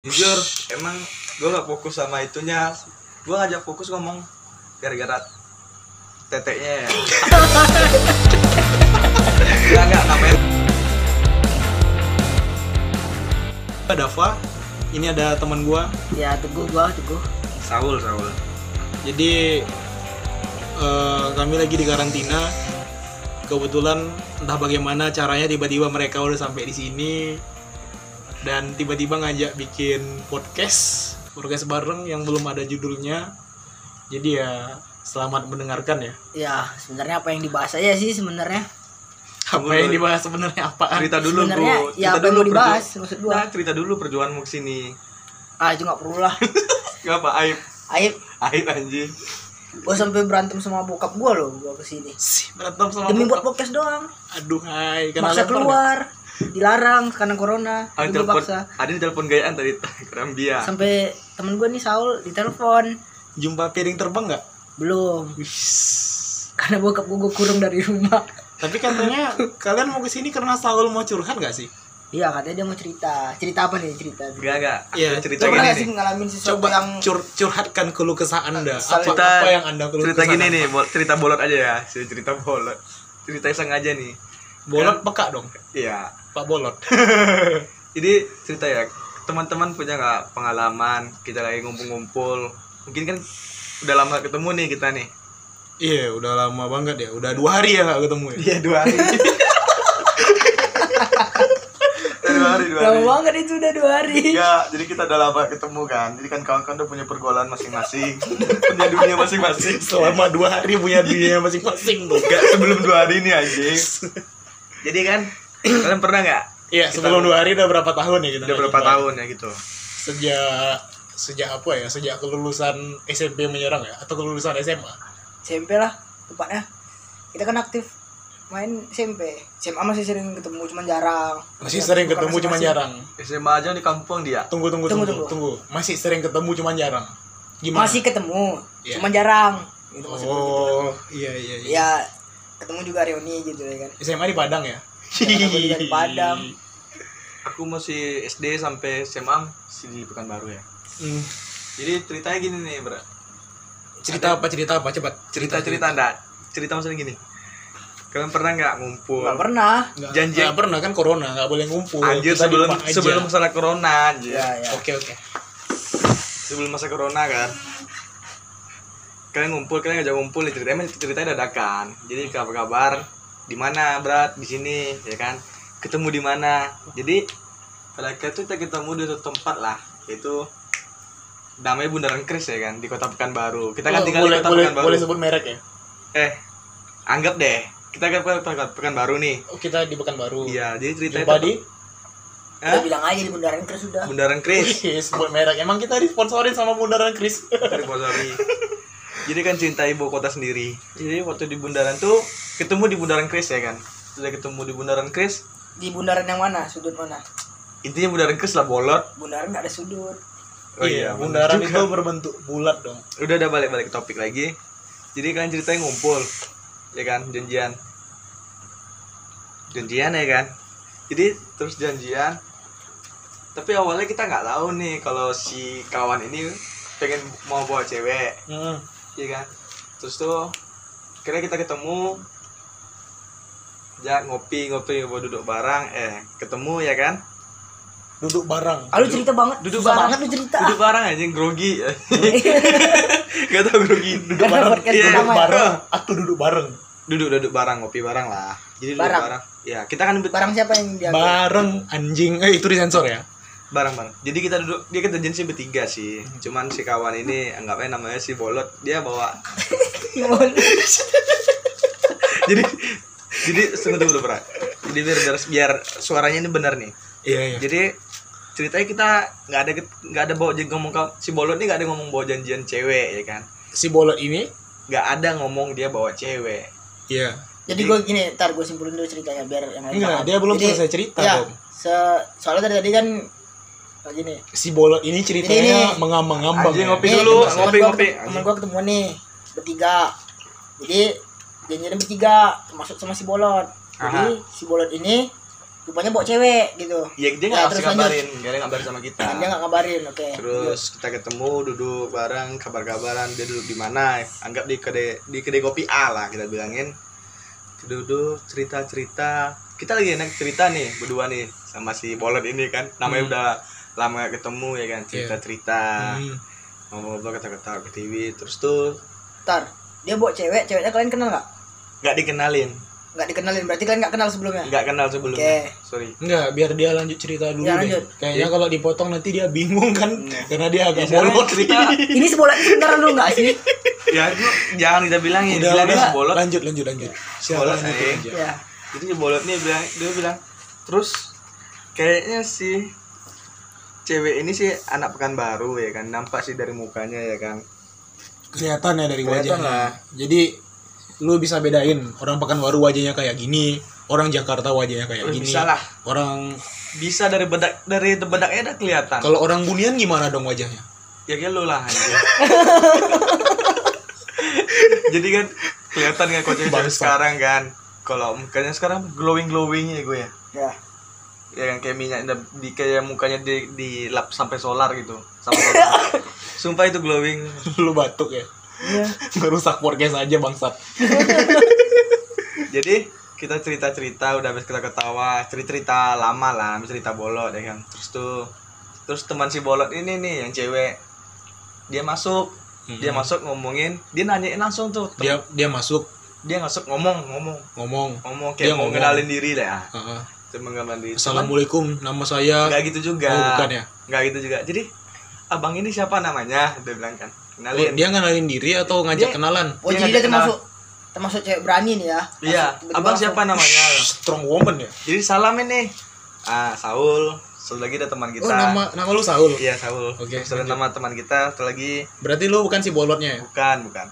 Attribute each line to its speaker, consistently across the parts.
Speaker 1: jujur emang gue gak fokus sama itunya gue ngajak fokus ngomong gara-gara teteknya ya nggak nggak namanya
Speaker 2: ada Dava, ini ada teman gua.
Speaker 3: Ya teguh gua teguh.
Speaker 1: Saul Saul
Speaker 2: Jadi eh, kami lagi di karantina. Kebetulan entah bagaimana caranya tiba-tiba mereka udah sampai di sini dan tiba-tiba ngajak bikin podcast, podcast bareng yang belum ada judulnya. Jadi ya selamat mendengarkan ya.
Speaker 3: Ya sebenarnya apa yang dibahas aja sih sebenarnya.
Speaker 2: Apa yang dibahas sebenarnya apaan?
Speaker 1: cerita dulu bro
Speaker 3: Sebenarnya, ya
Speaker 1: cerita
Speaker 3: apa yang
Speaker 1: dulu
Speaker 3: mau dibahas, maksud gua.
Speaker 1: nah, cerita dulu perjuanganmu kesini
Speaker 3: Ah itu nggak perlu lah.
Speaker 1: gak apa aib
Speaker 3: Aib,
Speaker 1: aib anjing
Speaker 3: gua sampai berantem sama bokap gua loh gua kesini.
Speaker 2: Sih, berantem sama
Speaker 3: Demi buat
Speaker 2: bokap.
Speaker 3: podcast doang.
Speaker 2: Aduh, hai, kena
Speaker 3: Maksa
Speaker 2: lempar nggak?
Speaker 3: keluar, dilarang karena corona.
Speaker 1: ada ya?
Speaker 3: Demi
Speaker 1: Ah, telepon Ya.
Speaker 3: paksa.
Speaker 1: ada yang telepon gayaan tadi Rambia
Speaker 3: Sampai temen gua nih Saul ditelepon.
Speaker 2: Jumpa piring terbang nggak?
Speaker 3: Belum.
Speaker 2: Wis.
Speaker 3: Karena bokap gua, gua kurung dari rumah.
Speaker 2: Tapi katanya kalian mau kesini karena Saul mau curhat gak sih?
Speaker 3: Iya katanya dia mau cerita. Cerita apa nih cerita?
Speaker 1: gak gak
Speaker 2: Iya,
Speaker 1: cerita
Speaker 3: Coba
Speaker 1: gini
Speaker 3: nggak sih
Speaker 1: nih
Speaker 3: ngalamin sesuatu
Speaker 2: Coba
Speaker 3: yang
Speaker 2: cur- curhatkan keluh kesah anda. Apa,
Speaker 3: Saul-
Speaker 1: Cerita-
Speaker 2: apa yang anda keluh
Speaker 1: cerita
Speaker 2: kesah?
Speaker 1: gini nih bol- cerita bolot aja ya Saya cerita bolot cerita sengaja nih
Speaker 2: Bolot peka dong,
Speaker 1: iya
Speaker 2: Pak Bolot.
Speaker 1: Jadi cerita ya, teman-teman punya nggak pengalaman kita lagi ngumpul-ngumpul? Mungkin kan udah lama nggak ketemu nih kita nih.
Speaker 2: Iya, udah lama banget ya. Udah dua hari ya gak ketemu ya.
Speaker 1: Iya dua hari. dua hari dua
Speaker 3: lama
Speaker 1: hari.
Speaker 3: banget itu udah dua hari.
Speaker 1: Iya, jadi kita udah lama ketemu kan. Jadi kan kawan-kawan udah punya pergaulan masing-masing, punya dunia masing-masing.
Speaker 2: Selama dua hari punya dunia masing-masing tuh.
Speaker 1: Gak sebelum dua hari nih anjing. Jadi kan kalian pernah nggak?
Speaker 2: Iya, sebelum dua hari udah berapa tahun ya kita?
Speaker 1: Udah berapa
Speaker 2: Coba.
Speaker 1: tahun ya gitu?
Speaker 2: Sejak sejak apa ya? Sejak kelulusan SMP menyerang ya atau kelulusan SMA?
Speaker 3: SMP lah tempatnya kita kan aktif main SMP SMA masih sering ketemu cuman jarang
Speaker 2: Masih
Speaker 3: Ya,
Speaker 2: sering
Speaker 3: bukan
Speaker 2: ketemu cuma
Speaker 3: masing-masing.
Speaker 2: jarang.
Speaker 1: SMA aja di kampung dia.
Speaker 2: Tunggu tunggu
Speaker 3: Tunggu,
Speaker 2: tunggu tunggu. Masih sering ketemu cuma jarang. Gimana?
Speaker 3: masih ketemu
Speaker 2: Iya.
Speaker 3: cuman jarang gitu maksud gue gitu.
Speaker 2: Oh, iya iya iya.
Speaker 3: ya ketemu juga reuni gitu ya kan
Speaker 2: SMA di Padang ya?
Speaker 3: SMA
Speaker 1: Iya.
Speaker 3: gua juga di Padang.
Speaker 1: Aku masih SD sampai SMA masih di Pekanbaru ya.
Speaker 2: Hmm,
Speaker 1: Jadi ceritanya gini nih, Bro.
Speaker 2: Cerita apa cerita apa coba?
Speaker 1: Cerita-cerita enggak? Cerita maksudnya gini. Kalian pernah nggak
Speaker 2: Iya.
Speaker 1: ngumpul?
Speaker 3: nggak pernah
Speaker 2: Nggak-
Speaker 1: Janji.
Speaker 2: nggak pernah kan corona, nggak boleh ngumpul.
Speaker 1: Anjir
Speaker 2: Kita di
Speaker 1: sebelum
Speaker 2: rumah aja. Iya,
Speaker 1: sebelum masalah corona anjir.
Speaker 3: ya ya
Speaker 2: Oke oke.
Speaker 1: Sebelum masa corona kan. Kalian ngumpul, kalian ngajak ngumpul nih ceritanya ceritanya dadakan. Jadi kabar-kabar di mana, Brat? Di sini, ya kan? Ketemu di mana? Jadi pada akhirnya tuh kita ketemu di satu tempat lah, yaitu namanya Bundaran Kris ya kan di Kota Pekanbaru. Kita kan
Speaker 2: Oh,
Speaker 1: tinggal
Speaker 2: boleh,
Speaker 1: di Kota
Speaker 2: boleh,
Speaker 1: Pekanbaru.
Speaker 2: boleh sebut merek ya.
Speaker 1: eh anggap deh kita kan pekan, pekan, baru nih
Speaker 2: Oh, Kita di Pekanbaru.
Speaker 1: iya jadi ceritanya
Speaker 2: Jumpa
Speaker 1: tuh-
Speaker 2: di
Speaker 1: Hah?
Speaker 3: udah bilang aja di bundaran terus sudah
Speaker 1: bundaran Kris
Speaker 2: Wih, Iya, sebut merek. Emang kita disponsorin sama Bundaran Iya, Kris.
Speaker 1: dari Bosori jadi kan cinta ibu kota sendiri jadi waktu di bundaran tuh ketemu di bundaran Kris ya kan sudah ketemu di bundaran Kris
Speaker 3: di bundaran yang mana sudut mana
Speaker 1: intinya bundaran Kris lah bolot Oh
Speaker 3: bundaran nggak ada sudut
Speaker 1: bener
Speaker 2: Iya, Bundaran
Speaker 1: iya, juga.
Speaker 2: itu berbentuk bulat dong.
Speaker 1: udah udah balik balik ke topik lagi jadi kalian ceritanya ngumpul ya kan janjian janjian ya kan jadi terus janjian tapi awalnya kita nggak tahu nih kalau si kawan ini pengen mau bawa cewek
Speaker 2: Hmm.
Speaker 1: ya kan terus tuh kira kita ketemu ya ngopi ngopi mau duduk bareng eh ketemu ya kan
Speaker 2: Duduk bareng.
Speaker 3: ah, lu cerita banget
Speaker 1: duduk
Speaker 3: Susah
Speaker 1: bareng.
Speaker 3: banget lu cerita
Speaker 1: duduk bareng aja grogi gak tau grogi duduk
Speaker 3: Karena
Speaker 1: bareng
Speaker 3: podcast
Speaker 1: Iya.
Speaker 2: Duduk
Speaker 3: pertama ya.
Speaker 2: bareng. Aku duduk bareng.
Speaker 1: duduk duduk bareng ngopi bareng lah jadi duduk
Speaker 3: Bareng.
Speaker 1: bareng, ya kita kan bareng
Speaker 3: barang siapa yang dia
Speaker 2: Bareng anjing. Eh, itu disensor ya.
Speaker 1: bareng bareng jadi kita duduk dia kita janjian sih bertiga sih cuman si kawan ini anggapnya namanya si bolot dia bawa jadi jadi tunggu tunggu dulu, Bra. jadi biar, biar biar suaranya ini benar nih
Speaker 2: Iya, iya.
Speaker 1: jadi ceritanya kita nggak ada nggak ada bawa jadi ngomong ka- si bolot ini nggak ada ngomong bawa janjian cewek ya kan
Speaker 2: Si bolot ini
Speaker 1: nggak ada ngomong dia bawa cewek
Speaker 2: Iya.
Speaker 3: Jadi gue gini, ntar gue simpulin dulu ceritanya biar yang lain
Speaker 2: Enggak,
Speaker 3: paham.
Speaker 2: dia belum
Speaker 3: Jadi,
Speaker 2: selesai cerita
Speaker 3: ya,
Speaker 2: dong.
Speaker 3: Se soalnya dari tadi kan oh, gini.
Speaker 2: Si bolot ini ceritanya
Speaker 3: Ini-
Speaker 2: mengambang-ambang.
Speaker 1: Anjing,
Speaker 2: ya.
Speaker 1: ngopi dulu, ngopi,
Speaker 3: gua
Speaker 1: ngopi.
Speaker 3: ketemu- Temen gue ketemu nih bertiga. Jadi janjian bertiga termasuk sama si Bolot. Jadi si Bolot ini rupanya bawa cewek gitu
Speaker 1: Iya dia
Speaker 3: Ya,
Speaker 1: nggak
Speaker 3: terus
Speaker 1: pasti
Speaker 3: lanjut.
Speaker 1: ngabarin, dia nggak ngabarin sama kita.
Speaker 3: Nah, dia nggak ngabarin oke
Speaker 1: Ya. Terus kita ketemu, duduk bareng, kabar-kabaran dia duduk di mana? Anggap di kedai di kedai kopi A lah kita bilangin. Duduk cerita-cerita. Kita lagi enak cerita nih berdua nih sama si Bolot ini kan. Namanya
Speaker 2: Hmm. Iya.
Speaker 1: udah lama nggak ketemu ya kan cerita-cerita
Speaker 2: Hmm.
Speaker 1: ngobrol-ngobrol kata-kata ke TV terus tuh
Speaker 3: ntar dia bawa cewek ceweknya kalian kenal nggak
Speaker 1: nggak dikenalin
Speaker 3: nggak dikenalin berarti kalian nggak kenal sebelumnya
Speaker 1: nggak kenal sebelumnya
Speaker 3: Oke.
Speaker 1: sorry
Speaker 2: Enggak, biar dia lanjut cerita dulu
Speaker 3: Ya,
Speaker 2: deh.
Speaker 3: lanjut.
Speaker 2: Kayaknya kalau dipotong nanti dia bingung kan karena dia agak
Speaker 1: Ya, sekarang
Speaker 2: bolot
Speaker 1: cerita.
Speaker 3: ini sebulan ini sebentar dulu nggak sih
Speaker 1: ya itu jangan kita bilangin
Speaker 2: Udah,
Speaker 1: Gila, dia
Speaker 2: udah.
Speaker 1: sebolot
Speaker 2: Lanjut, lanjut, lanjut.
Speaker 1: Bolot,
Speaker 2: Siapa lanjut
Speaker 1: eh.
Speaker 2: aja.
Speaker 3: ya
Speaker 1: jadi si bolot nih bilang dia bilang terus kayaknya si cewek ini sih anak pekanbaru ya kan nampak sih dari mukanya ya kan
Speaker 2: Kelihatan ya dari
Speaker 1: Kelihatan
Speaker 2: wajahnya.
Speaker 1: lah.
Speaker 2: Jadi lu bisa bedain orang Pekanbaru wajahnya kayak gini, orang Jakarta wajahnya kayak
Speaker 1: Terus
Speaker 2: gini.
Speaker 1: bisa lah.
Speaker 2: Orang
Speaker 1: bisa dari bedak dari bedaknya udah kelihatan
Speaker 2: kalau orang Bunian gimana dong wajahnya?
Speaker 1: ya kayak lu lah anjir. jadi kan kelihatan kan kocaknya cewek
Speaker 2: Bangsat.
Speaker 1: sekarang kan kalau mukanya sekarang glowing glowing ya gue ya
Speaker 3: ya
Speaker 1: ya kan kayak minyak di- di kayak mukanya di dilap sampai solar gitu sampai solar. sumpah itu glowing
Speaker 2: lu batuk ya.
Speaker 3: Iya.
Speaker 2: Merusak podcast aja bangsat.
Speaker 1: jadi kita cerita cerita udah habis kita ketawa cerita cerita lama lah habis cerita bolot ya kan terus tuh terus teman si bolot ini nih yang cewek dia masuk dia masuk ngomongin dia nanyain langsung tuh dia,
Speaker 2: Hmm. Dia dia masuk
Speaker 1: dia masuk ngomong ngomong
Speaker 2: ngomong.
Speaker 1: ngomong kayak
Speaker 2: Dia
Speaker 1: mau
Speaker 2: ngomong.
Speaker 1: kenalin diri lah
Speaker 2: "Ah, ah,
Speaker 1: cuma ngomongin diri
Speaker 2: Assalamualaikum, nama saya
Speaker 1: nggak gitu juga
Speaker 2: Oh, bukan ya?
Speaker 1: nggak gitu juga jadi abang ini siapa namanya dia bilang kan
Speaker 2: Oh,
Speaker 1: kenalin
Speaker 2: dia ngenalin diri atau ngajak
Speaker 1: Dia-
Speaker 2: kenalan?
Speaker 3: oh
Speaker 1: Dia Iya,
Speaker 3: jadi
Speaker 1: nggak
Speaker 3: dia termasuk termasuk cewek berani nih ya
Speaker 1: Iya,
Speaker 3: Masuk-
Speaker 1: abang
Speaker 3: tiba-tiba
Speaker 1: siapa namanya?
Speaker 2: Strong woman ya?
Speaker 1: Jadi salam ini. Ah, Saul. Saul lagi ada teman kita.
Speaker 2: Oh, nama nama lu Saul.
Speaker 1: Iya, Saul.
Speaker 2: Oke,
Speaker 1: Saul
Speaker 2: lanjut.
Speaker 1: nama teman kita. Satu lagi
Speaker 2: Berarti lu bukan si bolotnya ya?
Speaker 1: bukan, bukan.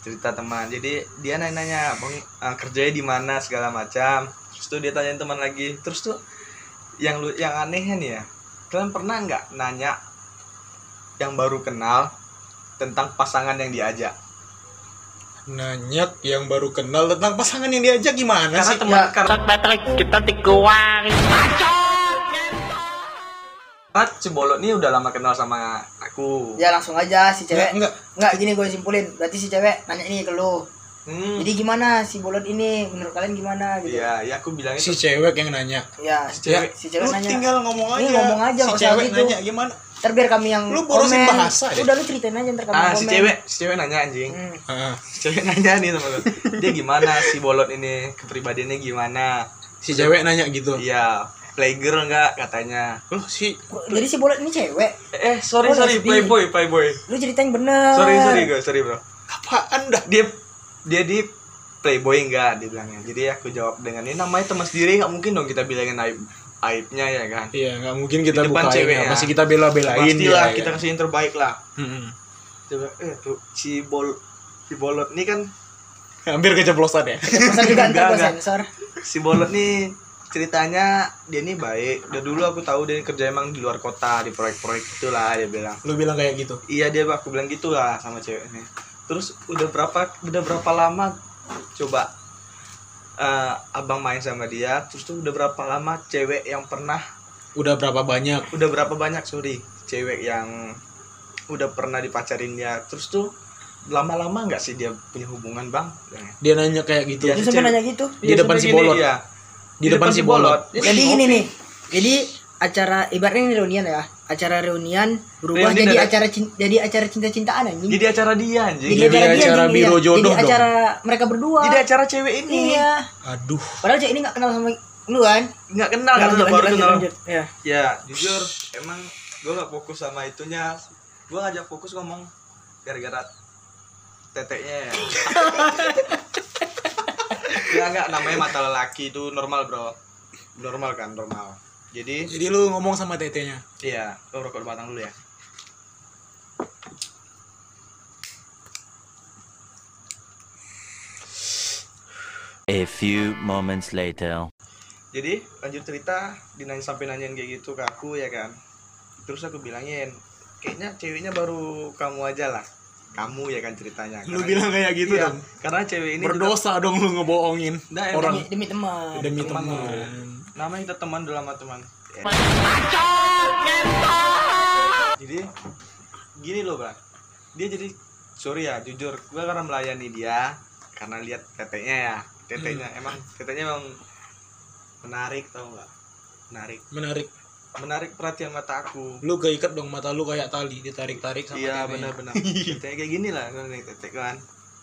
Speaker 1: Cerita teman. Jadi dia nanya-nanya, "Bang, ah, kerjanya di mana?" segala macam. Terus tuh dia tanyain teman lagi. Terus tuh yang lu yang anehnya nih ya. Kalian pernah nggak nanya yang baru kenal tentang pasangan yang diajak?
Speaker 2: Nanyak yang baru kenal tentang pasangan yang diajak gimana
Speaker 1: Karena
Speaker 2: sih?
Speaker 3: ya.
Speaker 1: teman karena
Speaker 4: kita dikeluarin
Speaker 1: karena Cibolot nih udah lama kenal sama aku.
Speaker 3: ya langsung aja si
Speaker 2: Enggak,
Speaker 3: cewek
Speaker 1: Ya.
Speaker 2: enggak.
Speaker 3: Enggak, gini gue simpulin. Berarti si cewek nanya ini ke lu.
Speaker 1: Hmm.
Speaker 3: Jadi gimana si bolot ini? Menurut kalian gimana gitu?
Speaker 1: Iya, ya aku bilangnya
Speaker 2: Si cewek yang nanya.
Speaker 3: Ya,
Speaker 1: Si cewek-
Speaker 3: si cewek
Speaker 2: lu
Speaker 3: nanya.
Speaker 2: tinggal ngomong aja.
Speaker 3: Iya, ngomong aja,
Speaker 2: Si
Speaker 3: nggak usah
Speaker 2: cewek
Speaker 3: gitu.
Speaker 2: nanya gimana?
Speaker 3: Ntar biar kami yang
Speaker 2: Lu borosin
Speaker 3: komen.
Speaker 2: bahasa ya? deh.
Speaker 3: Udah lu ceritain aja ntar kami
Speaker 1: ah
Speaker 3: yang
Speaker 1: si
Speaker 3: komen.
Speaker 1: cewek si cewek nanya anjing
Speaker 3: Hmm.
Speaker 2: Ah,
Speaker 1: si cewek nanya nih teman dia gimana si bolot ini kepribadiannya gimana
Speaker 2: si cewek nanya gitu.
Speaker 1: iya playgirl nggak katanya
Speaker 2: Loh, si
Speaker 3: Gua- Jadi si bolot ini cewek.
Speaker 1: eh eh, sorry
Speaker 3: Oh, Eh.
Speaker 1: sorry
Speaker 3: SD.
Speaker 1: playboy playboy
Speaker 3: Lu ceritain bener.
Speaker 1: sorry sorry gue sorry bro
Speaker 2: apaan dah?
Speaker 1: dia dia di playboy nggak dibilangnya jadi aku jawab dengan ini namanya teman sendiri nggak mungkin dong kita bilangin aib aibnya ya kan
Speaker 2: Iya, nggak mungkin kita
Speaker 1: Di depan
Speaker 2: bukain.
Speaker 1: cewek
Speaker 2: ya.
Speaker 1: ya.
Speaker 2: Pasti kita bela-belain
Speaker 1: pastilah
Speaker 2: dia,
Speaker 1: kita
Speaker 2: ya.
Speaker 1: kasih yang terbaik lah
Speaker 2: Mm-mm.
Speaker 1: coba eh tuh si bol si bolot ini kan
Speaker 2: Hampir keceplosan ya.
Speaker 3: Masa juga ntar
Speaker 1: Enggak,
Speaker 3: gue
Speaker 1: enggak.
Speaker 3: sensor.
Speaker 1: si Bolot nih ceritanya dia nih baik udah dulu aku tahu dia kerja emang di luar kota di proyek-proyek itulah dia bilang
Speaker 2: Lu bilang kayak gitu.
Speaker 1: iya dia aku bilang gitulah sama ceweknya terus udah berapa udah berapa lama coba eh, abang main sama dia terus tuh udah berapa lama cewek yang pernah
Speaker 2: Udah berapa banyak?
Speaker 1: udah berapa banyak sorry cewek yang udah pernah dipacarin dia terus tuh lama-lama nggak sih dia punya hubungan bang
Speaker 2: Dia nanya kayak gitu.
Speaker 1: Iya.
Speaker 3: Lu
Speaker 1: si
Speaker 3: sampai
Speaker 1: cewek.
Speaker 3: nanya gitu.
Speaker 2: Di depan
Speaker 1: sampai
Speaker 2: si
Speaker 1: gini,
Speaker 2: Bolot.
Speaker 1: iya.
Speaker 2: Di, depan, si bolot.
Speaker 1: Dia
Speaker 3: Jadi
Speaker 1: ngopi.
Speaker 3: gini nih. Jadi acara ibaratnya ini reunian ya. Acara reunian berubah
Speaker 1: Reuni
Speaker 3: jadi
Speaker 1: dadak.
Speaker 3: acara cin- jadi acara cinta-cintaan anjing.
Speaker 1: jadi acara dia anjing
Speaker 2: Jadi acara
Speaker 3: anjing,
Speaker 2: biro
Speaker 3: iya.
Speaker 2: jodoh
Speaker 3: Jadi
Speaker 2: dong.
Speaker 3: acara mereka berdua.
Speaker 1: jadi acara cewek ini
Speaker 3: Iya.
Speaker 2: Aduh.
Speaker 3: Padahal cewek ini gak kenal sama lu kan?
Speaker 1: nggak kenal kan
Speaker 3: Lanjut,
Speaker 1: lu baru
Speaker 3: lanjut,
Speaker 1: kenal
Speaker 3: lanjut. Ya.
Speaker 1: ya jujur emang gue gak fokus sama itunya gue ngajak fokus ngomong gara-gara teteknya ya ya nggak namanya mata lelaki itu normal bro normal kan normal jadi
Speaker 2: Jadi lu ngomong sama tetenya.
Speaker 1: iya lo rokok dua batang dulu ya
Speaker 5: A few moments later.
Speaker 1: jadi lanjut cerita dinanya sampai nanyain kayak gitu ke aku ya kan terus aku bilangin kayaknya ceweknya baru kamu aja lah kamu ya kan ceritanya
Speaker 2: Lu
Speaker 1: Karena-
Speaker 2: bilang kayak gitu
Speaker 1: Iya,
Speaker 2: dong.
Speaker 1: karena cewek ini juga-
Speaker 2: Berdosa dong lu ngebohongin
Speaker 1: Nah, emang
Speaker 2: orang
Speaker 3: Demi, demi teman.
Speaker 2: demi teman.
Speaker 1: teman. namanya kita teman udah lama teman jadi gini loh bang dia jadi sorry ya jujur gue karena melayani dia karena lihat teteknya ya teteknya
Speaker 2: Hmm.
Speaker 1: emang teteknya emang menarik tau nggak menarik
Speaker 2: menarik
Speaker 1: menarik perhatian mata aku
Speaker 2: lu keikat dong mata lu kayak tali ditarik tarik sama
Speaker 1: iya
Speaker 2: tetenya.
Speaker 1: benar-benar tetek kayak gini lah kan nih tetek kan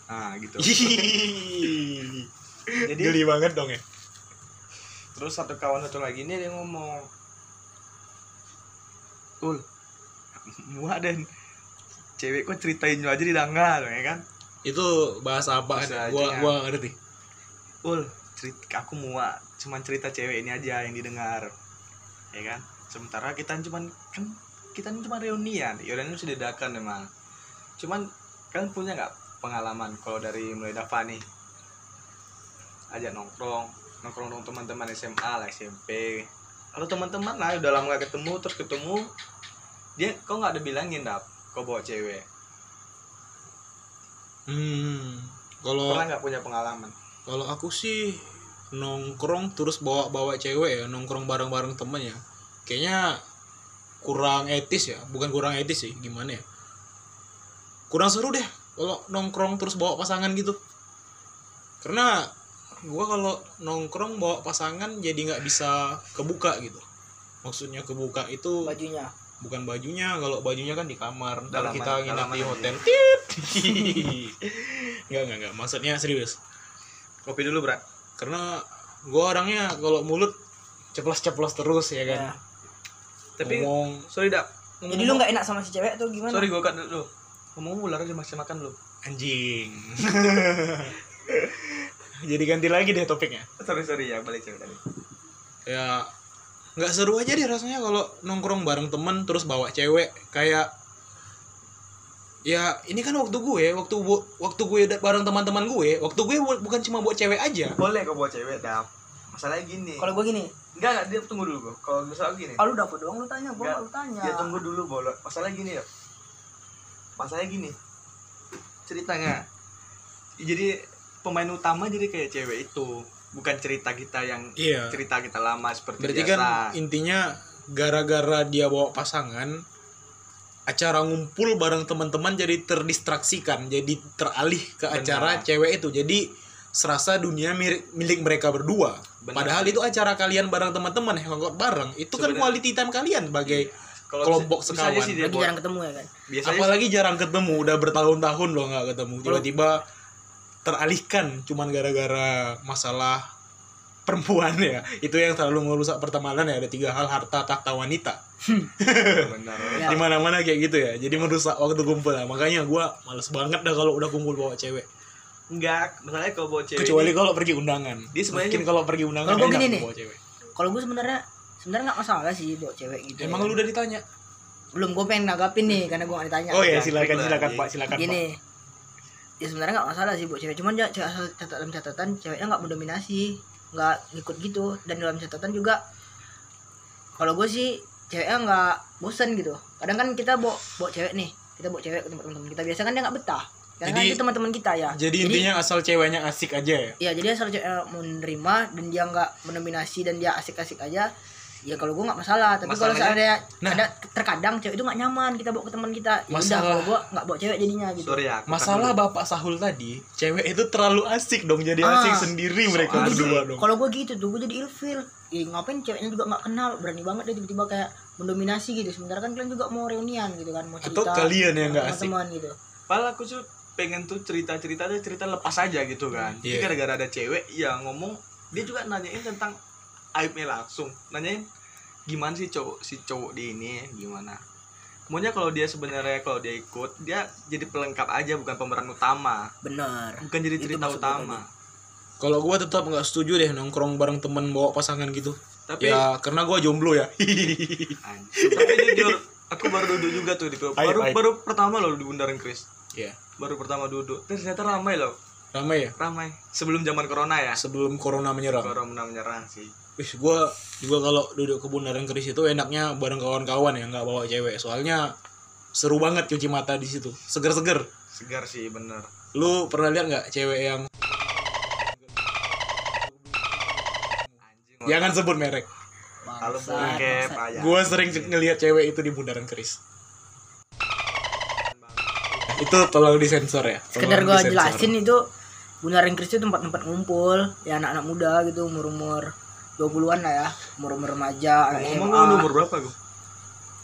Speaker 1: nah gitu jadi
Speaker 2: Iya, geli banget dong ya
Speaker 1: terus satu kawan satu lagi ini dia ngomong ul muak dan cewek kok ceritain lu aja di dangga ya kan
Speaker 2: itu bahasa apa
Speaker 1: Bahasa
Speaker 2: kan gua
Speaker 1: aja. ya.
Speaker 2: gua nggak ngerti
Speaker 1: ul cerita aku muak cuman cerita cewek ini aja yang didengar ya kan sementara kita cuman kan kita ini cuma reunian reunian itu sudah dadakan memang cuman kalian punya nggak pengalaman kalau dari mulai Dafa nih ajak nongkrong nongkrong dengan teman-teman SMA lah SMP atau teman-teman lah udah lama gak ketemu terus ketemu dia kok nggak ada bilangin dap kau bawa cewek
Speaker 2: hmm kalau
Speaker 1: pernah nggak punya pengalaman
Speaker 2: kalau aku sih nongkrong terus bawa bawa cewek ya nongkrong bareng bareng temen ya kayaknya kurang etis ya bukan kurang etis sih gimana ya kurang seru deh kalau nongkrong terus bawa pasangan gitu karena gua kalau nongkrong bawa pasangan jadi nggak bisa kebuka gitu maksudnya kebuka itu
Speaker 3: bajunya
Speaker 2: bukan bajunya kalau bajunya kan di kamar kalau
Speaker 1: Dalaman-
Speaker 2: kita nginap di
Speaker 1: dalaman aja.
Speaker 2: hotel tit nggak nggak nggak maksudnya serius
Speaker 1: kopi dulu berat
Speaker 2: karena gua orangnya kalau mulut ceplos ceplos terus ya kan
Speaker 1: Iya.
Speaker 3: ya.
Speaker 1: tapi
Speaker 2: ngomong
Speaker 1: sorry dap
Speaker 3: Oh. jadi lu nggak enak sama si cewek atau gimana
Speaker 1: sorry gue cut dulu ngomong ular aja masih makan lu
Speaker 2: anjing jadi ganti lagi deh topiknya
Speaker 1: sorry sorry ya balik cewek tadi
Speaker 2: ya nggak seru aja deh rasanya kalau nongkrong bareng temen terus bawa cewek kayak ya ini kan waktu gue waktu bu- waktu gue da- bareng teman-teman gue waktu gue bu- bukan cuma buat cewek aja
Speaker 1: boleh kau bawa cewek dap masalahnya gini
Speaker 3: kalau gua gini
Speaker 1: enggak enggak dia tunggu dulu gue kalau misalnya gini
Speaker 3: ah lu dapet doang lu tanya gua
Speaker 1: Nggak.
Speaker 3: nggak lu tanya
Speaker 1: dia tunggu dulu bolot masalahnya gini ya masalahnya gini ceritanya jadi pemain utama jadi kayak cewek itu bukan cerita kita yang
Speaker 2: iya
Speaker 1: cerita kita lama seperti
Speaker 2: berarti
Speaker 1: biasa
Speaker 2: kan intinya gara-gara dia bawa pasangan acara ngumpul bareng teman-teman jadi terdistraksikan jadi teralih ke
Speaker 1: Benar.
Speaker 2: acara cewek itu jadi serasa dunia milik, milik mereka berdua
Speaker 1: Benar.
Speaker 2: padahal itu acara kalian bareng teman-teman hangout bareng itu
Speaker 1: Sebenarnya- Iya.
Speaker 2: kan quality time kalian sebagai
Speaker 1: Kalau
Speaker 2: kelompok
Speaker 1: bisa- bisa aja
Speaker 2: sekawan.
Speaker 1: sih dia
Speaker 3: lagi
Speaker 1: bawa-
Speaker 3: jarang ketemu ya kan
Speaker 1: biasanya
Speaker 2: apalagi jarang ketemu udah bertahun-tahun loh nggak ketemu tiba-tiba teralihkan cuman gara-gara masalah perempuan ya itu yang selalu merusak pertemanan ya ada tiga hal harta tahta wanita
Speaker 1: benar
Speaker 3: Ya.
Speaker 2: di mana mana kayak gitu ya jadi merusak waktu kumpul lah makanya gua males banget dah kalau udah kumpul bawa cewek
Speaker 1: enggak masalahnya kalau bawa cewek
Speaker 2: kecuali kalau pergi undangan
Speaker 1: Iya, Dia sebenarnya-
Speaker 2: mungkin kalau pergi undangan
Speaker 3: Kalau gua
Speaker 2: enak
Speaker 3: gini nih.
Speaker 2: bawa cewek
Speaker 3: kalau gua sebenarnya sebenarnya nggak masalah sih bawa cewek gitu
Speaker 2: emang lu udah ditanya
Speaker 3: belum gua pengen nanggapin nih karena gua nggak ditanya
Speaker 2: oh ya
Speaker 1: jangan
Speaker 2: silakan
Speaker 1: klik lah,
Speaker 2: silakan
Speaker 1: iya.
Speaker 2: pak silakan pak
Speaker 3: gini ya sebenarnya nggak masalah sih buat cewek cuman ya cewek asal catat dalam catatan ceweknya nggak mendominasi nggak ngikut gitu dan dalam catatan juga kalau gue sih ceweknya nggak bosen gitu kadang kan kita bawa bawa cewek nih kita bawa cewek ke tempat teman kita biasa kan dia nggak betah karena kan
Speaker 2: Jadi-
Speaker 3: itu teman-teman kita ya
Speaker 2: jadi intinya asal ceweknya asik aja ya
Speaker 3: ya jadi asal cewek mau menerima dan dia nggak mendominasi dan dia asik-asik aja ya kalau gue nggak masalah tapi kalau
Speaker 1: Masalahnya-
Speaker 3: seandainya ada terkadang cewek itu nggak nyaman kita bawa ke teman kita ya
Speaker 2: Nah.
Speaker 3: udah
Speaker 2: Masalah-
Speaker 3: kalau gue nggak bawa cewek jadinya gitu
Speaker 1: sorry ya aku
Speaker 2: Masalah
Speaker 1: cut
Speaker 2: Bapak Sahul tadi, cewek itu terlalu asik dong jadi
Speaker 3: Ah,
Speaker 2: asik sendiri mereka
Speaker 1: asik.
Speaker 2: berdua dong.
Speaker 3: kalau gue gitu tuh gue jadi ilfil ya, ngapain ceweknya juga nggak kenal berani banget dia tiba-tiba kayak mendominasi gitu sementara kan kalian juga mau reunian gitu kan mau cerita
Speaker 2: Atau kalian yang nggak asik.
Speaker 3: teman gitu
Speaker 1: dulu. padahal aku tuh pengen tuh cerita cerita tuh cerita lepas aja gitu kan jadi
Speaker 2: Iya.
Speaker 1: gara-gara ada cewek yang ngomong dia juga nanyain tentang aibnya langsung nanyain gimana sih cowok si cowok di ini gimana maunya kalau dia sebenarnya kalau dia ikut dia jadi pelengkap aja bukan pemeran utama
Speaker 3: bener
Speaker 1: bukan jadi
Speaker 3: Itu
Speaker 1: cerita
Speaker 3: maksud gua
Speaker 1: utama
Speaker 2: Kalau gua tetap nggak setuju deh nongkrong bareng temen bawa pasangan gitu.
Speaker 1: Tapi-
Speaker 2: ya karena gua jomblo ya.
Speaker 1: Anjir. tapi jujur aku baru duduk juga tuh di
Speaker 2: Aib,
Speaker 1: baru
Speaker 2: aib.
Speaker 1: baru pertama loh di bundaran Chris
Speaker 2: ya,
Speaker 1: baru pertama duduk ternyata ramai loh
Speaker 2: ramai ya.
Speaker 1: ramai sebelum zaman corona ya
Speaker 2: Sebelum corona menyerang.
Speaker 1: corona menyerang sih
Speaker 2: Wih, gua juga kalau duduk ke bundaran keris itu enaknya bareng kawan-kawan ya nggak bawa cewek. Soalnya seru banget cuci mata di situ. Seger-seger.
Speaker 1: segar sih bener
Speaker 2: Lu pernah lihat nggak cewek yang
Speaker 1: anjing
Speaker 2: Jangan sebut merek.
Speaker 1: Kalau
Speaker 3: Bangsa,
Speaker 1: bokep
Speaker 3: Ya.
Speaker 1: aja.
Speaker 2: Gue sering ngelihat cewek itu di bundaran keris. Itu tolong disensor ya. Tolong
Speaker 3: sekedar gua
Speaker 2: disensor.
Speaker 3: jelasin itu Bundaran Kris itu tempat-tempat ngumpul ya anak-anak muda gitu umur-umur 20-an lah ya umur-umur remaja anak
Speaker 1: Ngomong
Speaker 3: SMA
Speaker 1: lu umur berapa gue?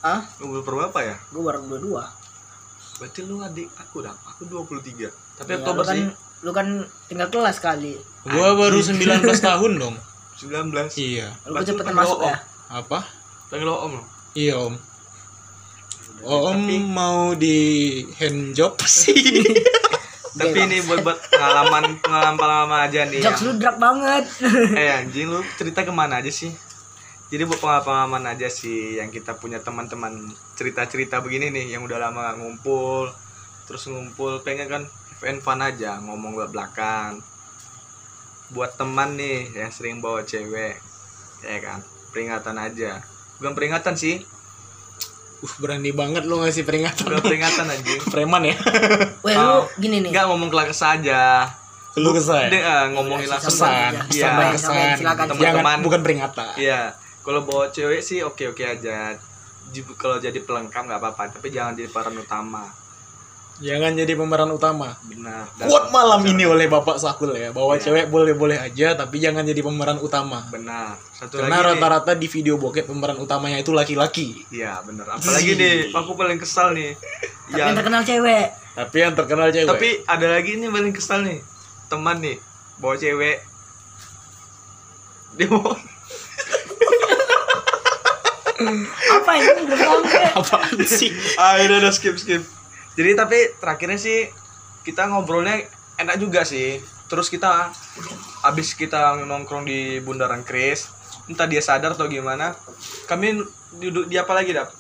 Speaker 3: ah
Speaker 1: Umur berapa ya?
Speaker 3: gue baru 22
Speaker 1: Berarti lu adik aku dah. Aku 23. Tapi
Speaker 3: Ya, lu
Speaker 1: Oktober
Speaker 3: kan
Speaker 1: sih
Speaker 3: lu kan tinggal kelas kali
Speaker 2: Gua baru 19 tahun dong.
Speaker 1: 19.
Speaker 2: Iya.
Speaker 3: lu
Speaker 1: Berarti
Speaker 3: cepetan
Speaker 1: lu
Speaker 3: masuk
Speaker 1: oh.
Speaker 3: ya
Speaker 2: Apa?
Speaker 1: Panggil lo om lo.
Speaker 2: Iya om. Oh, Om mau di hand job sih.
Speaker 1: Tapi ini buat buat pengalaman pengalaman pengalaman aja nih.
Speaker 3: jokes lu drag banget
Speaker 1: eh anjing lu cerita kemana aja sih jadi buat pengalaman aja sih yang kita punya teman-teman cerita-cerita begini nih yang udah lama nggak ngumpul terus ngumpul pengen kan fun fun aja ngomong buat belakang buat teman nih yang sering bawa cewek ya kan peringatan aja bukan peringatan sih
Speaker 2: uh berani banget lo ngasih peringatan.
Speaker 1: bukan peringatan anjing
Speaker 2: Preman ya.
Speaker 3: weh
Speaker 1: Oh.
Speaker 3: lu gini nih
Speaker 1: nggak ngomong kelakes aja
Speaker 2: Lu kesal.
Speaker 1: Dia,
Speaker 2: ya?
Speaker 1: eh, ngomongin
Speaker 3: Pesan.
Speaker 1: langsung
Speaker 2: Pesan.
Speaker 1: Iya.
Speaker 2: Pesan dan kesan.
Speaker 3: Silakan,
Speaker 1: silakan.
Speaker 2: Jangan
Speaker 1: Teman-teman.
Speaker 2: bukan peringatan.
Speaker 1: Iya, kalau bawa cewek sih oke oke aja. J- Kalau jadi pelengkap nggak apa-apa, tapi jangan jadi peran utama.
Speaker 2: Jangan jadi pemeran utama.
Speaker 1: Benar. Dan-
Speaker 2: Kuat malam ini oleh Bapak Sakul ya bahwa
Speaker 3: Iya.
Speaker 2: cewek boleh-boleh aja tapi jangan jadi pemeran utama.
Speaker 1: Benar. Satu
Speaker 2: Karena
Speaker 1: lagi. nih.
Speaker 2: rata-rata di video bokep pemeran utamanya itu laki-laki.
Speaker 1: Iya benar. Apalagi nih, aku paling kesal nih.
Speaker 3: tapi kan- yang
Speaker 1: Yang,
Speaker 3: terkenal cewek
Speaker 2: Tapi yang terkenal cewek.
Speaker 1: tapi ada lagi nih paling kesal nih. Teman nih, bawa cewek. Dia bawa
Speaker 3: apa ini belum sampai
Speaker 2: apaan sih?
Speaker 1: ah udah udah skip skip jadi tapi terakhirnya sih kita ngobrolnya enak juga sih terus kita abis kita nongkrong di bundaran Kris entah dia sadar atau gimana kami duduk di apa lagi dap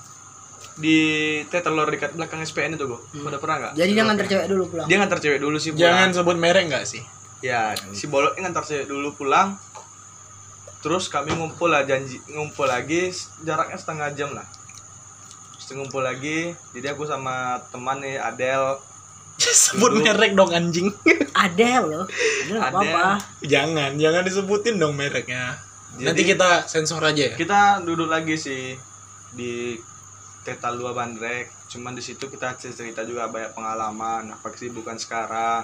Speaker 1: di tetelor dekat belakang SPN itu gue udah pernah nggak
Speaker 3: jadi jangan tercewek dulu pulang
Speaker 1: dia ngantar cewek dulu sih pulang.
Speaker 2: Jangan sebut merek nggak sih?
Speaker 1: ya si bolok ini ngantar cewek dulu pulang terus kami ngumpul lah janji ngumpul lagi jaraknya setengah jam lah terus ngumpul lagi jadi aku sama teman nih Adel
Speaker 2: sebut merek dong anjing.
Speaker 3: ada loh ada nggak apa-apa
Speaker 2: jangan, jangan disebutin dong mereknya. Nanti kita sensor aja ya.
Speaker 1: kita duduk lagi sih di Tetal Dua Bandrek cuman di situ kita cerita juga banyak pengalaman apa kesibukan sekarang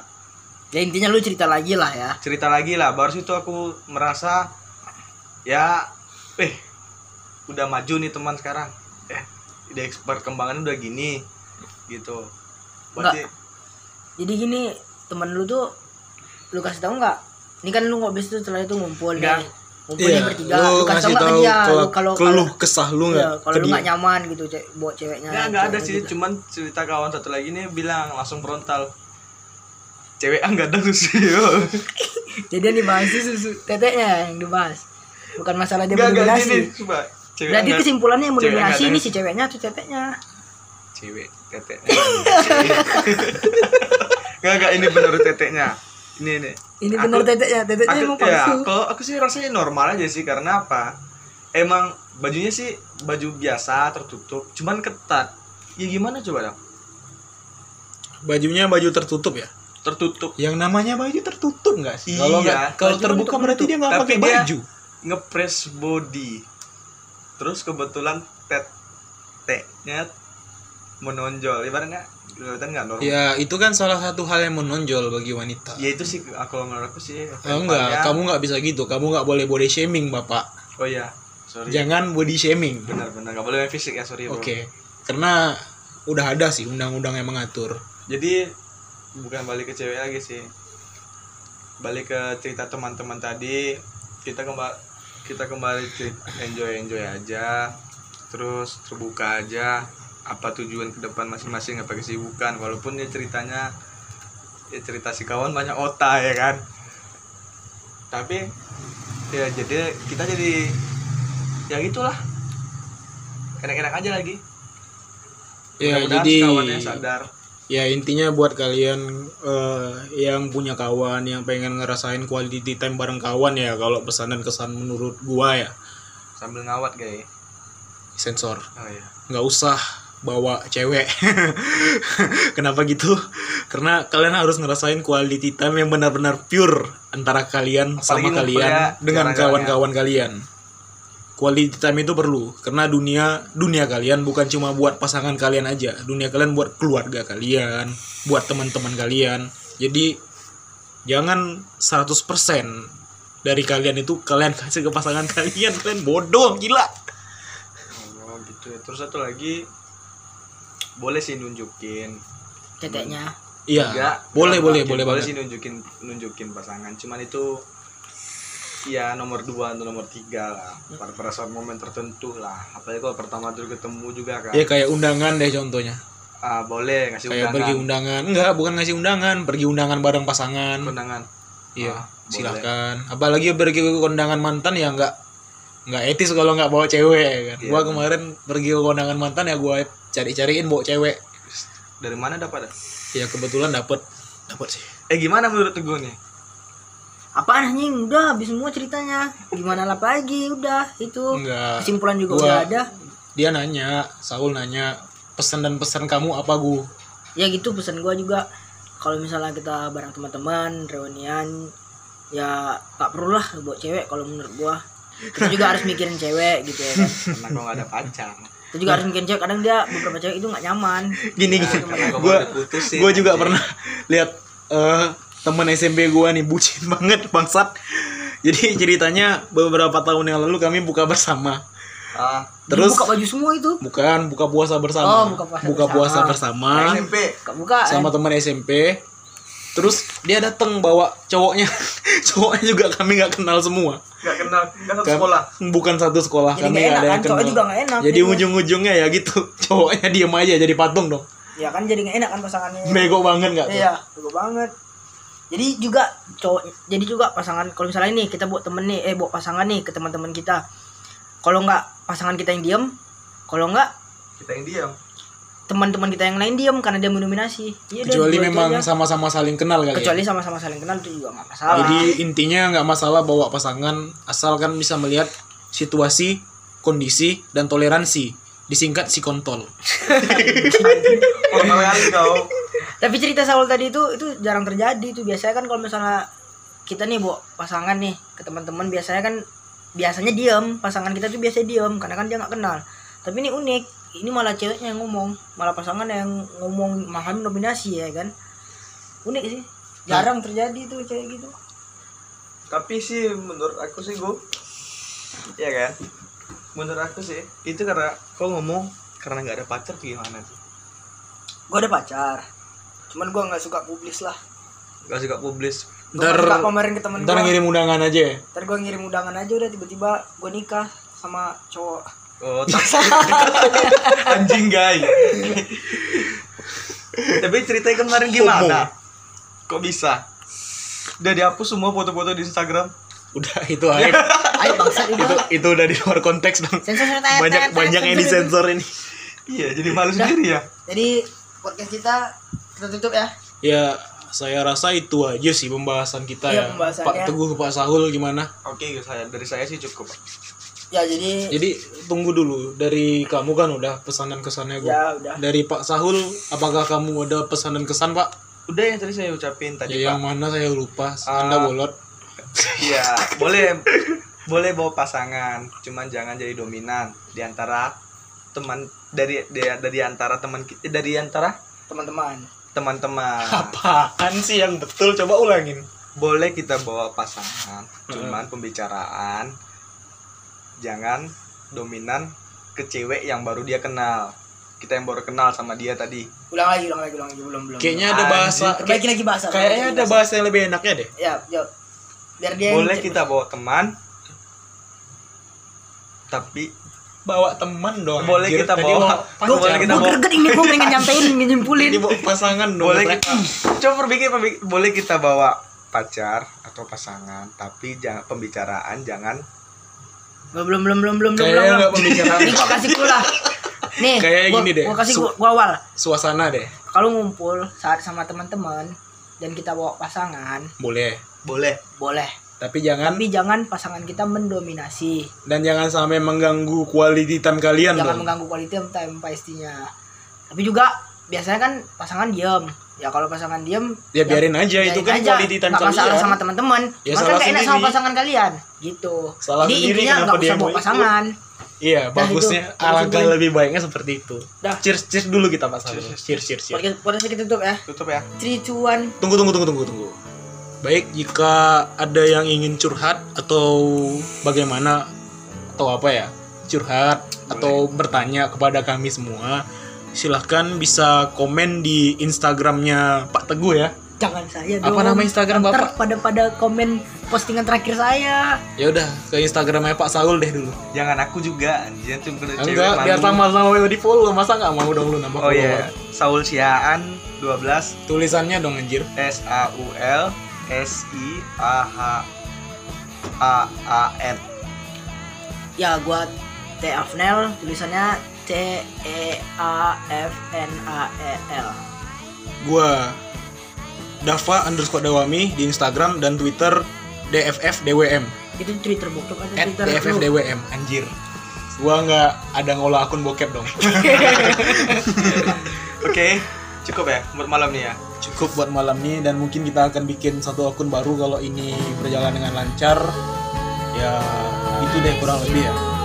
Speaker 3: ya intinya lu cerita lagi lah ya
Speaker 1: cerita lagi lah baru situ aku merasa ya eh udah maju nih teman sekarang eh udah expert kembangan udah gini gitu berarti
Speaker 3: jadi gini temen lu tuh lu kasih tahu nggak ini kan lu habis itu setelah itu ngumpul
Speaker 1: Enggak.
Speaker 3: nih ngumpulnya
Speaker 1: Iya.
Speaker 3: bertiga Iya,
Speaker 2: Iya.
Speaker 3: lu
Speaker 2: lu
Speaker 3: kasih
Speaker 2: ngasih
Speaker 3: tahu nggak ke
Speaker 2: tahu
Speaker 3: dia
Speaker 2: kalau
Speaker 3: lu kalau kalau
Speaker 2: keluh kesah lu
Speaker 3: iya,
Speaker 2: nggak
Speaker 3: kalau
Speaker 2: ke
Speaker 3: lu
Speaker 2: dia.
Speaker 3: nggak nyaman gitu cewek buat ceweknya
Speaker 1: nggak nggak ada
Speaker 3: ceweknya
Speaker 1: sih
Speaker 3: gitu.
Speaker 1: cuman cerita kawan satu lagi nih bilang langsung frontal cewek ah nggak ada sih
Speaker 3: jadi yang dibahas sih susu teteknya yang dibahas bukan masalah dia
Speaker 1: nggak nggak gini
Speaker 3: mendominasi Nah,
Speaker 1: coba cewek
Speaker 3: jadi
Speaker 1: angkat-
Speaker 3: kesimpulannya yang
Speaker 1: cewek
Speaker 3: mendominasi
Speaker 1: angkat-
Speaker 3: ini si ceweknya atau teteknya
Speaker 1: cewek tetek nggak nggak ini benar teteknya ini ini
Speaker 3: ini benar
Speaker 1: Aku-
Speaker 3: teteknya teteknya
Speaker 1: aku,
Speaker 3: emang
Speaker 1: ya,
Speaker 3: palsu
Speaker 1: kalau aku sih rasanya normal aja sih karena apa emang bajunya sih baju biasa tertutup cuman ketat ya gimana coba dong
Speaker 2: Bajunya baju tertutup ya.
Speaker 1: tertutup
Speaker 2: Yang namanya baju tertutup nggak sih? Kalau
Speaker 1: Iya,
Speaker 2: nggak- kalau
Speaker 1: baju
Speaker 2: terbuka
Speaker 1: tertutup.
Speaker 2: berarti dia nggak
Speaker 1: Tapi
Speaker 2: pakai
Speaker 1: dia-
Speaker 2: baju.
Speaker 1: ngepres body terus kebetulan teteknya menonjol ibaratnya kelihatan nggak normal
Speaker 2: Ya itu kan salah satu hal yang menonjol bagi wanita.
Speaker 1: ya itu sih kalau menurut aku sih
Speaker 2: Eh,
Speaker 1: tempatnya-
Speaker 2: enggak, kamu nggak bisa gitu. Kamu nggak boleh body shaming, Bapak.
Speaker 1: oh iya sorry
Speaker 2: Jangan body shaming. Oke.
Speaker 1: benar-benar nggak boleh main fisik ya sorry bro.
Speaker 2: Karena udah ada sih undang-undang yang mengatur.
Speaker 1: jadi bukan balik ke cewek lagi sih balik ke cerita teman-teman tadi kita kembali kita kembali cerita enjoy enjoy aja terus terbuka aja apa tujuan ke depan masing-masing apa kesibukan walaupun ya ceritanya ya cerita si kawan banyak otak ya kan tapi ya jadi kita jadi ya gitulah enak-enak aja lagi
Speaker 2: Ya,
Speaker 1: mudah-mudahan si
Speaker 2: jadi
Speaker 1: kawannya sadar
Speaker 2: ya intinya buat kalian eh, yang punya kawan yang pengen ngerasain quality time bareng kawan ya kalau pesan dan kesan menurut gua ya
Speaker 1: sambil ngawat guys
Speaker 2: sensor
Speaker 1: oh iya
Speaker 2: nggak usah bawa cewek kenapa gitu karena kalian harus ngerasain quality time yang benar-benar pure antara kalian sama
Speaker 1: ngumpulnya
Speaker 2: kalian dengan
Speaker 1: jarang-jarang
Speaker 2: kawan-kawan kalian quality time itu perlu karena dunia dunia kalian bukan cuma buat pasangan kalian aja dunia kalian buat keluarga kalian buat teman-teman kalian jadi jangan 100% dari kalian itu kalian kasih ke pasangan kalian kalian bodoh gila
Speaker 1: Oh, gitu ya. terus satu lagi boleh sih nunjukin
Speaker 3: ceteknya
Speaker 1: Enggak,
Speaker 2: iya boleh
Speaker 1: enggak,
Speaker 2: boleh
Speaker 1: mungkin.
Speaker 2: boleh
Speaker 1: boleh
Speaker 2: banget.
Speaker 1: sih nunjukin nunjukin pasangan cuman itu ya nomor dua atau nomor tiga lah pada pada saat momen tertentu lah apalagi kalau pertama dulu ketemu juga kan
Speaker 2: Ya kayak undangan deh contohnya.
Speaker 1: Ah, boleh ngasih
Speaker 2: Kayak pergi
Speaker 1: undangan
Speaker 2: undangan. Enggak, bukan ngasih undangan, pergi undangan bareng pasangan.
Speaker 1: undangan
Speaker 2: Iya,
Speaker 1: Ah, boleh.
Speaker 2: silahkan Apalagi pergi ke kondangan mantan ya enggak enggak etis kalau enggak bawa cewek ya kan.
Speaker 1: Iya.
Speaker 2: Gua kemarin pergi ke kondangan mantan ya gua cari-cariin bawa cewek.
Speaker 1: dari mana dapat
Speaker 2: Ya kebetulan dapet dapet sih.
Speaker 1: eh gimana menurut teguh nih
Speaker 3: apaan anjing udah habis semua ceritanya gimana lah lagi udah itu
Speaker 2: Enggak.
Speaker 3: kesimpulan juga
Speaker 2: Gua-
Speaker 3: udah ada
Speaker 2: Dia nanya, Saul nanya, pesan dan pesan kamu apa Gu?
Speaker 3: ya gitu pesan gua juga kalau misalnya kita bareng teman-teman reunian ya tak perlulah buat cewek kalau menurut gua kita juga harus mikirin cewek gitu ya kan
Speaker 1: karena kau nggak ada pacar
Speaker 3: kita juga harus mikirin cewek kadang dia beberapa cewek itu nggak nyaman
Speaker 2: Gini
Speaker 1: Nah,
Speaker 2: gini.
Speaker 1: karena kau
Speaker 2: Gua
Speaker 1: baru diputusin,
Speaker 2: gue juga
Speaker 1: anjing.
Speaker 2: pernah lihat eh teman SMP gue nih bucin banget bangsat jadi ceritanya beberapa tahun yang lalu kami buka bersama
Speaker 1: ah
Speaker 2: terus
Speaker 3: buka baju semua itu
Speaker 2: bukan buka puasa bersama
Speaker 3: Oh, buka puasa
Speaker 2: puasa
Speaker 3: bersama. Nah,
Speaker 2: bersama,
Speaker 1: SMP
Speaker 3: buka buka kan?
Speaker 2: sama teman SMP terus dia datang bawa cowoknya cowoknya juga kami nggak kenal semua
Speaker 1: nggak kenal kan satu
Speaker 2: Kam-
Speaker 1: sekolah
Speaker 2: bukan satu sekolah
Speaker 3: Jadi
Speaker 2: kami
Speaker 3: nggak
Speaker 2: nggak ada
Speaker 3: enak
Speaker 2: yang
Speaker 3: kan, cowoknya
Speaker 2: kenal
Speaker 3: juga nggak enak
Speaker 2: jadi
Speaker 3: gitu.
Speaker 2: ujung-ujungnya ya gitu cowoknya diem aja jadi patung dong
Speaker 3: ya kan jadi nggak enak kan pasangannya
Speaker 2: bego banget nggak tuh?
Speaker 3: iya bego banget jadi juga cowok jadi juga pasangan kalau misalnya ini kita buat temen nih eh buat pasangan nih ke teman-teman kita kalau nggak pasangan kita yang diem kalau nggak
Speaker 1: kita yang diam
Speaker 3: teman-teman kita yang lain diem karena dia mendominasi Iya deh,
Speaker 2: kecuali
Speaker 3: dua itu
Speaker 2: memang
Speaker 3: aja.
Speaker 2: sama-sama saling kenal kali ya.
Speaker 3: kecuali sama-sama saling kenal itu juga nggak masalah
Speaker 2: Jadi intinya nggak masalah bawa pasangan asalkan bisa melihat situasi, kondisi dan toleransi. Disingkat si kontol.
Speaker 1: pertama kali kau
Speaker 3: tapi cerita Saul tadi itu itu jarang terjadi itu biasanya kan kalau misalnya kita nih buat pasangan nih ke teman-teman biasanya kan biasanya diem pasangan kita tuh biasanya diem karena kan dia nggak kenal tapi ini unik ini malah ceweknya yang ngomong malah pasangan yang ngomong makan dominasi ya kan unik sih jarang terjadi tuh kayak gitu
Speaker 1: tapi sih menurut aku sih gue ya kan menurut aku sih itu karena kau ngomong karena nggak ada pacar tuh gimana tuh
Speaker 3: gua ada pacar cuman gua nggak suka publis lah
Speaker 1: gak suka publis
Speaker 3: Gua nggak
Speaker 2: Ntar
Speaker 3: suka pamerin ke temen
Speaker 2: ntar
Speaker 3: gua.
Speaker 2: ngirim undangan aja. ya.
Speaker 3: ntar gua ngirim undangan aja udah tiba-tiba gua nikah sama cowok
Speaker 1: oh tak- anjing guys tapi ceritanya kemarin gimana kok bisa udah dihapus semua foto-foto di Instagram
Speaker 2: Udah itu aib.
Speaker 3: Iya. ayo bangsat
Speaker 2: itu itu udah di luar konteks dong.
Speaker 3: sensor sensor
Speaker 2: Banyak banyak yang disensor ini.
Speaker 1: iya jadi malu sendiri ya
Speaker 3: Jadi podcast kita kita tutup ya.
Speaker 2: Ya saya rasa itu aja sih pembahasan kita
Speaker 3: Iya,
Speaker 2: ya.
Speaker 3: pembahasannya.
Speaker 2: Pak Teguh Pak Sahul gimana?
Speaker 1: oke saya dari saya sih cukup
Speaker 3: Ya jadi
Speaker 2: Jadi tunggu dulu dari kamu kan udah pesan dan kesannya gue.
Speaker 3: ya udah.
Speaker 2: Dari Pak Sahul apakah kamu ada pesan dan kesan Pak?
Speaker 1: udah yang tadi saya ucapin tadi Pak.
Speaker 2: Ya, yang mana saya lupa. Anda
Speaker 1: Ah.
Speaker 2: bolot.
Speaker 1: Iya, boleh boleh bawa pasangan, cuman jangan jadi dominan di antara teman dari dari, dari antara teman ki- eh, dari antara
Speaker 3: Teman-teman.
Speaker 1: teman-teman.
Speaker 2: Apaan sih yang betul? Coba ulangin.
Speaker 1: Boleh kita bawa pasangan,
Speaker 2: Hmm.
Speaker 1: cuman pembicaraan jangan dominan ke cewek yang baru dia kenal. Kita yang baru kenal sama dia tadi.
Speaker 3: Ulang lagi, ulang lagi, ulang lagi, belum belum.
Speaker 2: Kayaknya ada bahasa.
Speaker 3: Perbaiki lagi bahasa.
Speaker 2: Kayaknya
Speaker 3: perbaiki
Speaker 2: ada
Speaker 3: lagi
Speaker 2: bahasa yang lebih enaknya deh.
Speaker 3: bahasa. Ya, jawab. Biar
Speaker 2: Iya,
Speaker 3: dia yang
Speaker 1: Boleh
Speaker 3: cer-
Speaker 1: kita bawa teman tapi
Speaker 2: Bawa teman dong.
Speaker 1: boleh
Speaker 2: anjir.
Speaker 1: kita
Speaker 2: Iya. Tadi
Speaker 1: bawa
Speaker 2: mau
Speaker 1: boleh
Speaker 2: pacar.
Speaker 1: kita
Speaker 3: Gua
Speaker 1: bawa
Speaker 3: greget ini gua pengen nyampein, pengen nyimpulin.
Speaker 2: Tadi bawa pasangan dong.
Speaker 1: boleh
Speaker 2: mereka.
Speaker 1: kita coba berpikir pemik- boleh kita bawa pacar atau pasangan tapi jangan pembicaraan jangan
Speaker 3: Belum belum belum belum belum belum.
Speaker 2: Kayaknya
Speaker 3: belum.
Speaker 2: nggak pembicaraan.
Speaker 3: Ini gua kasih gua lah. Nih,
Speaker 2: Kayaknya
Speaker 3: gua-
Speaker 2: gini deh.
Speaker 3: Gua kasih
Speaker 2: Su-
Speaker 3: gua, gua awal.
Speaker 2: Suasana deh.
Speaker 3: Kalau ngumpul saat sama teman-teman dan kita bawa pasangan,
Speaker 2: Boleh.
Speaker 1: boleh
Speaker 3: boleh.
Speaker 2: Tapi jangan
Speaker 3: Tapi jangan pasangan kita mendominasi.
Speaker 2: dan jangan sampai mengganggu quality time kalian
Speaker 3: jangan
Speaker 2: dong.
Speaker 3: mengganggu quality time pastinya tapi juga biasanya kan pasangan diem ya kalau pasangan diem
Speaker 2: Ya, biarin aja, itu kan quality time
Speaker 3: Nggak masalah
Speaker 2: kalian.
Speaker 3: sama teman-teman
Speaker 2: Ya,
Speaker 3: Cuman kan
Speaker 2: salah
Speaker 3: nggak enak sama
Speaker 2: sendiri.
Speaker 3: pasangan kalian gitu
Speaker 2: Salah
Speaker 3: jadi
Speaker 2: sendiri,
Speaker 3: intinya
Speaker 2: kenapa
Speaker 3: nggak
Speaker 2: dia
Speaker 3: usah bawa
Speaker 2: mau ikut?
Speaker 3: pasangan
Speaker 2: Iya,
Speaker 3: Nah,
Speaker 2: bagusnya
Speaker 3: itu.
Speaker 2: alangkah
Speaker 3: Itu.
Speaker 2: lebih baiknya seperti itu.
Speaker 3: Dah.
Speaker 2: Cheers, cheers dulu kita Mas Abul.
Speaker 1: Cheers.
Speaker 2: Cheers, cheers, cheers.
Speaker 3: podcast podcast kita tutup ya
Speaker 1: tutup ya
Speaker 3: three two one
Speaker 2: Tunggu, tunggu, tunggu, tunggu, tunggu. Baik, jika ada yang ingin curhat atau bagaimana atau apa ya, curhat atau bertanya kepada kami semua, silahkan bisa komen di Instagramnya Pak Teguh ya.
Speaker 3: jangan saya
Speaker 2: Apa
Speaker 3: dong
Speaker 2: nama Instagram
Speaker 3: Ntar
Speaker 2: Bapak?
Speaker 3: pada pada komen postingan terakhir saya
Speaker 2: Ya udah ke Instagramnya Pak Saul deh dulu.
Speaker 1: jangan aku juga jangan tuh cewek
Speaker 2: Enggak,
Speaker 1: malu.
Speaker 2: biar sama-sama di follow. Masa nggak mau dong lu nambah
Speaker 1: oh
Speaker 2: follower?
Speaker 1: iya Saul Siaan 12
Speaker 2: Tulisannya dong anjir.
Speaker 1: S A U L S I A H A A N
Speaker 3: ya gua T Afnel tulisannya T E A F N A E L
Speaker 2: Gua Dava underscore Dawami di Instagram dan Twitter DFF DWM
Speaker 3: itu Twitter bokep atau
Speaker 2: at
Speaker 3: Twitter
Speaker 2: DFF
Speaker 3: lu?
Speaker 2: DWM anjir gua nggak ada ngolah akun bokep dong
Speaker 1: Oke cukup ya buat malam nih ya
Speaker 2: cukup buat malam ini dan mungkin kita akan bikin satu akun baru kalau ini berjalan dengan lancar ya itu deh kurang lebih ya